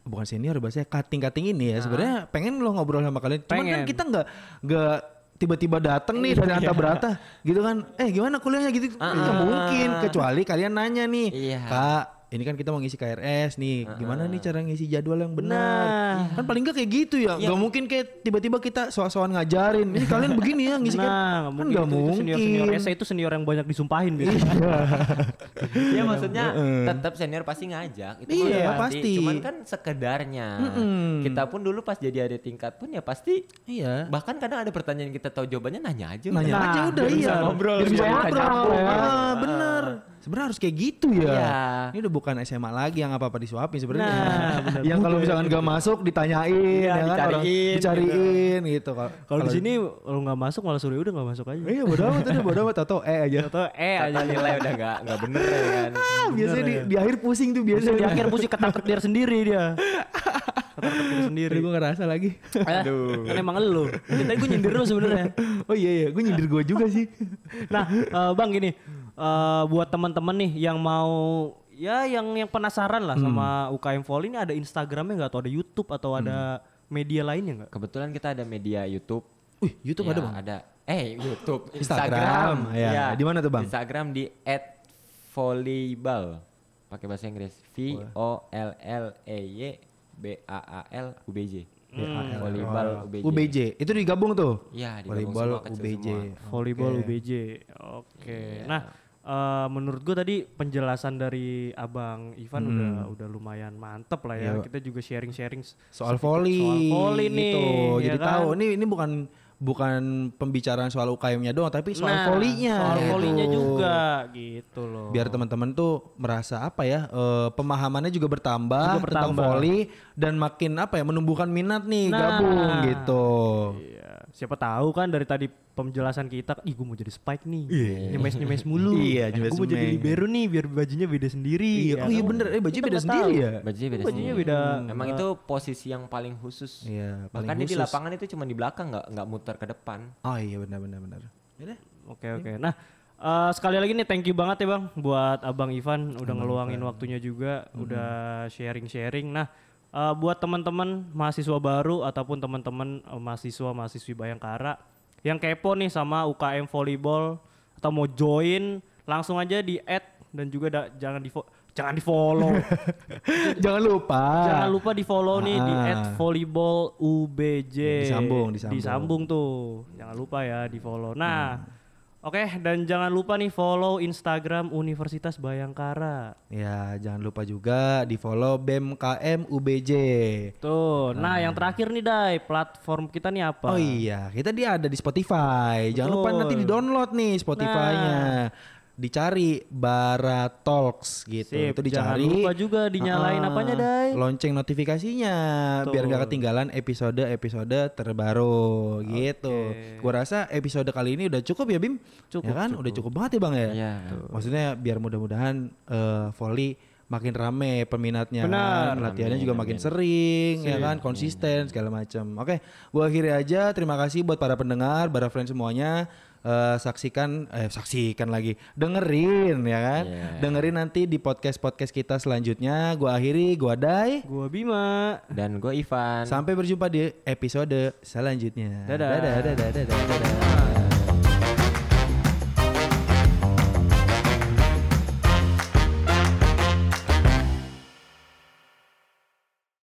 S1: bukan senior bahasanya kating-kating ini ya sebenarnya pengen lo ngobrol sama kalian. Cuman kan
S2: Ah. Pengen. Iya.
S1: kita nggak nggak tiba-tiba datang nih dari antar berata gitu kan eh gimana kuliahnya gitu
S3: Ah,
S1: nggak
S3: ah.
S1: mungkin kecuali kalian nanya nih
S3: Iya.
S1: kak ini kan kita mau ngisi KRS nih gimana nih cara ngisi jadwal yang benar
S2: Ah, Nah. Iya.
S1: kan paling nggak kayak gitu ya nggak mungkin kayak tiba-tiba kita soal-soal ngajarin ini kalian begini ya ngisi
S2: Nah,
S1: kan nggak mungkin Iya.
S2: Senior senior SA itu senior yang banyak disumpahin gitu. <laughs> biasanya.
S3: ya maksudnya tetap senior pasti ngajak itu
S1: Hmm. Iya,
S3: udah
S1: pasti. Hmm.
S3: cuman kan sekedarnya kita pun dulu pas jadi ada tingkat pun ya pasti
S1: iya
S3: bahkan kadang ada pertanyaan yang kita tahu jawabannya nanya aja udah.
S1: nanya
S2: Nah,
S1: aja udah
S2: biar
S1: iya
S2: bisa ngobrol,
S1: Biar bisa
S2: biar bisa
S1: ngobrol
S2: nyambung, ya.
S1: Ah, bener sebenarnya harus kayak gitu ya
S3: Iya.
S1: ini udah bukan SMA lagi yang apa apa disuapin sebenarnya <laughs>
S2: Nah, bener
S1: yang
S2: juga
S1: kalau misalkan gak masuk ditanyain
S3: Iya,
S1: ya kan orang-
S3: dicariin,
S1: dicariin gitu, Kalau-
S2: Kalau di sini lu nggak masuk malah Surya udah nggak masuk aja.
S1: <laughs> iya bodo amat udah bodo amat atau eh aja
S2: Atau eh
S3: Tata
S2: aja
S3: nilai udah nggak nggak bener ya kan
S1: Ah, biasanya di, di akhir pusing tuh biasanya
S2: di akhir mesti ketangkep diri sendiri dia. Ketangkep diri sendiri.
S1: gue ngerasa lagi
S2: Aduh. Kan emang elu. Jadi tadi gue nyindir lu sebenarnya.
S1: <laughs> oh iya iya gue nyindir gue juga sih
S2: Nah, eh, Bang gini, eh, buat teman-teman nih yang mau ya yang yang penasaran lah
S1: Hmm.
S2: sama UKM Volley ini ada Instagramnya nggak atau ada YouTube atau ada media lainnya nggak?
S3: kebetulan kita ada media YouTube
S1: <laughs> Wih, YouTube
S3: Ya,
S1: ada bang?
S3: Ada. Eh,
S1: <laughs>
S3: YouTube,
S1: Instagram,
S3: Instagram.
S1: ya.
S3: Ya.
S1: Di mana tuh, Bang?
S3: Instagram di @volleyball. Pakai bahasa Inggris. V O L L E Y B A A L U B J.
S1: Hmm, Iya,
S3: Volleyball
S1: Oh.
S3: UBJ.
S1: UBJ. Itu digabung tuh.
S3: Iya, digabung
S1: Volleyball
S3: semua, kecil
S1: UBJ.
S3: semua.
S2: Volleyball UBJ. Oke.
S1: Iya.
S2: Nah, eh, menurut gue tadi penjelasan dari Abang Ivan udah
S1: Hmm.
S2: udah lumayan mantep lah
S1: Iya.
S2: ya. Kita juga sharing-sharing s-
S1: Soal volley.
S2: Soal volley nih,
S1: gitu.
S2: ya
S1: Jadi
S2: kan?
S1: tahu ini ini bukan bukan pembicaraan soal UKM-nya doang tapi soal
S2: Nah,
S1: volinya
S2: soal
S1: gitu.
S2: volinya juga gitu loh
S1: biar teman-teman tuh merasa apa ya eh, pemahamannya juga bertambah,
S2: Juga
S1: tentang
S2: bertambah.
S1: voli dan makin apa ya menumbuhkan minat nih
S2: Nah.
S1: gabung gitu.
S2: Iya. Siapa tahu kan dari tadi penjelasan kita, ih gue mau jadi spike nih,
S1: <laughs>
S2: nyemes-nyemes mulu.
S1: Iya,
S2: gue mau
S1: nyemes-nyemes.
S2: jadi libero nih biar bajunya beda sendiri.
S1: Iya,
S2: ya
S1: oh iya
S2: kan?
S1: bener, eh baju
S2: Kita
S1: beda
S2: nggak
S1: sendiri
S2: tahu.
S1: ya.
S3: Bajunya beda
S2: Bajunya
S3: sendiri.
S2: beda.
S3: Emang itu posisi yang paling khusus.
S1: Iya, paling
S3: Bahkan dia di
S1: khusus.
S3: lapangan itu cuma di belakang nggak nggak muter ke depan.
S1: Oh iya benar benar benar. Yaudah.
S2: Oke oke. Nah eh, sekali lagi nih thank you banget ya bang buat abang Ivan Hmm. udah ngeluangin waktunya juga, udah sharing sharing. Nah eh, buat teman-teman mahasiswa baru ataupun teman-teman mahasiswa mahasiswi Bayangkara yang kepo nih sama UKM volleyball atau mau join langsung aja di add dan juga da- jangan di fo- jangan di follow
S1: <laughs>
S2: <laughs>
S1: Jangan lupa.
S2: Jangan lupa di follow nih di
S1: Ah.
S2: @volleyballubj.
S1: Disambung, disambung.
S2: Disambung tuh. Jangan lupa ya di follow. Nah, oke dan jangan lupa nih follow Instagram Universitas Bayangkara.
S1: Ya, jangan lupa juga di follow BMKM UBJ.
S2: Tuh. Nah, yang terakhir nih Dai, platform kita nih
S1: Ah.
S2: apa?
S1: Oh iya, kita dia ada di Spotify. Jangan lupa
S2: Betul. Nah.
S1: nanti di download nih Spotify-nya. Dicari Bara Talks gitu.
S2: Sip,
S1: Itu
S2: jangan
S1: dicari.
S2: lupa juga dinyalain
S1: Ah,
S2: apanya, Dai?
S1: Lonceng notifikasinya biar gak ketinggalan episode-episode terbaru gitu. Gua rasa episode kali ini udah cukup ya, Bim? Ya
S2: Cukup,
S1: kan? Udah cukup banget ya, Bang ya?
S3: Iya.
S2: Gitu.
S1: Tuh. Maksudnya biar mudah-mudahan eh, volley makin rame peminatnya kan,
S2: Benar.
S1: latihannya juga makin sering ya kan konsisten segala macam. Oke, gua akhiri aja. Terima kasih buat para pendengar, para friend semuanya. Eh, saksikan eh saksikan lagi. Dengerin ya kan.
S2: Iya.
S1: Dengerin nanti di podcast-podcast kita selanjutnya. Gua akhiri, gua Dai.
S2: Gua Bima.
S3: Dan gue Ivan.
S1: Sampai berjumpa di episode selanjutnya.
S2: Dadah.
S1: dadah, dadah, dadah. dadah.